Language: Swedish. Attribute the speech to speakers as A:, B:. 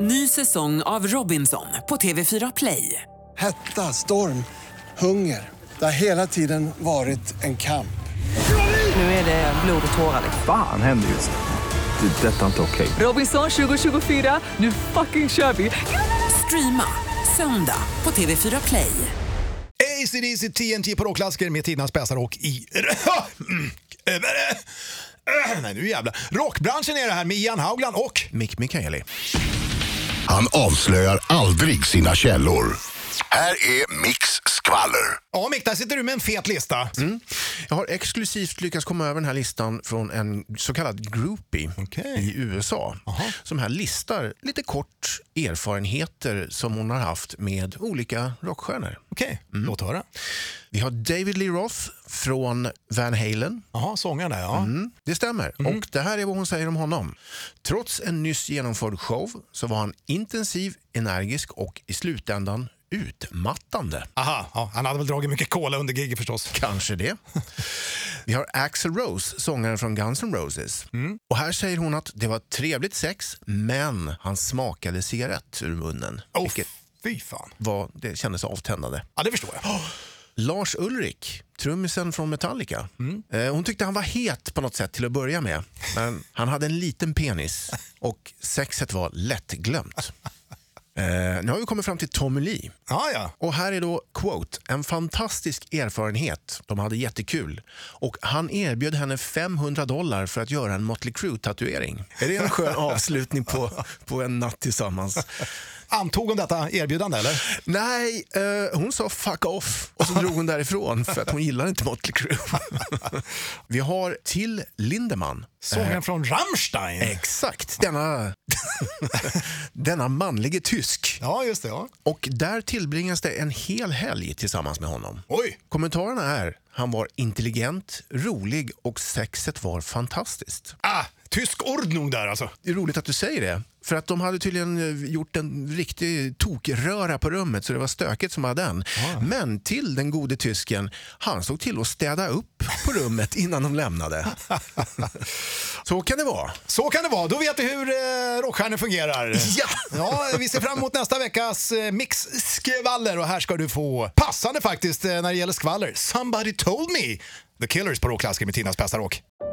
A: Ny säsong av Robinson på TV4 Play.
B: Hetta, storm, hunger. Det har hela tiden varit en kamp.
A: Nu är det blod och tårar.
C: Fan händer just nu. Det. är Detta är inte okej.
A: Robinson 2024, nu fucking kör vi! Streama söndag på TV4 Play.
D: ACDC TNT på rockklassiker med tidernas bästa rock i... Mm. Öh, Nej, nu jävlar. Rockbranschen är det här med Ian Haugland och Mick Mikaeli.
E: Han avslöjar aldrig sina källor. Här är Mix skvaller.
D: Ja, Mick, där sitter du med en fet lista.
F: Mm. Jag har exklusivt lyckats komma över den här listan från en så kallad groupie
D: Okej.
F: i USA. Som här listar lite kort erfarenheter som hon har haft med olika rockstjärnor.
D: Okej,
F: Mm.
D: låt höra.
F: Vi har David Lee Roth från Van Halen.
D: Jaha, sångaren där, ja.
F: Mm, det stämmer. Och det här är vad hon säger om honom. Trots en nyss genomförd show så var han intensiv, energisk och i slutändan utmattande.
D: Aha, ja, han hade väl dragit mycket cola under giget förstås.
F: Kanske det. Vi har Axel Rose, sångaren från Guns N' Roses. Och här säger hon att det var ett trevligt sex, men han smakade cigarett ur munnen.
D: Åh,
F: Vilket
D: fy fan.
F: var, det kändes avtändande.
D: Ja, det förstår jag.
F: Lars Ulrik, trummisen från Metallica. Eh, hon tyckte han var het på något sätt till att börja med. Men han hade en liten penis och sexet var lättglömt. Eh, nu har vi kommit fram till Tommy Lee.
D: Ja, ja.
F: Och här är då, quote, en fantastisk erfarenhet. De hade jättekul. Och han erbjöd henne 500 dollar för att göra en Motley Crue-tatuering. Är det en skön avslutning på, på en natt tillsammans?
D: Antog hon detta erbjudande, eller?
F: Nej, eh, hon sa fuck off och så drog hon därifrån för att hon gillar inte Motley Crue. Vi har till Lindemann.
D: Sångaren från Rammstein.
F: Eh. Exakt, denna, denna manlige tysk.
D: Ja, just det. Ja.
F: Och där tillbringas det en hel helg tillsammans med honom.
D: Oj!
F: Kommentarerna är han var intelligent, rolig och sexet var fantastiskt.
D: Ah, tysk ordnung där alltså.
F: Det är roligt att du säger det. För att de hade tydligen eh, gjort en riktig tokröra på rummet så det var stöket som hade den. Men till den gode tysken, han såg till att städa upp på rummet innan de lämnade. så kan det vara.
D: Så kan det vara. Då vet du hur eh, rockstjärnor fungerar.
F: Ja.
D: ja! Vi ser fram emot nästa veckas eh, mix skvaller och här ska du få, passande faktiskt eh, när det gäller skvaller, Somebody Told Me! The Killers på rockklassiker med Tinas bästa rock.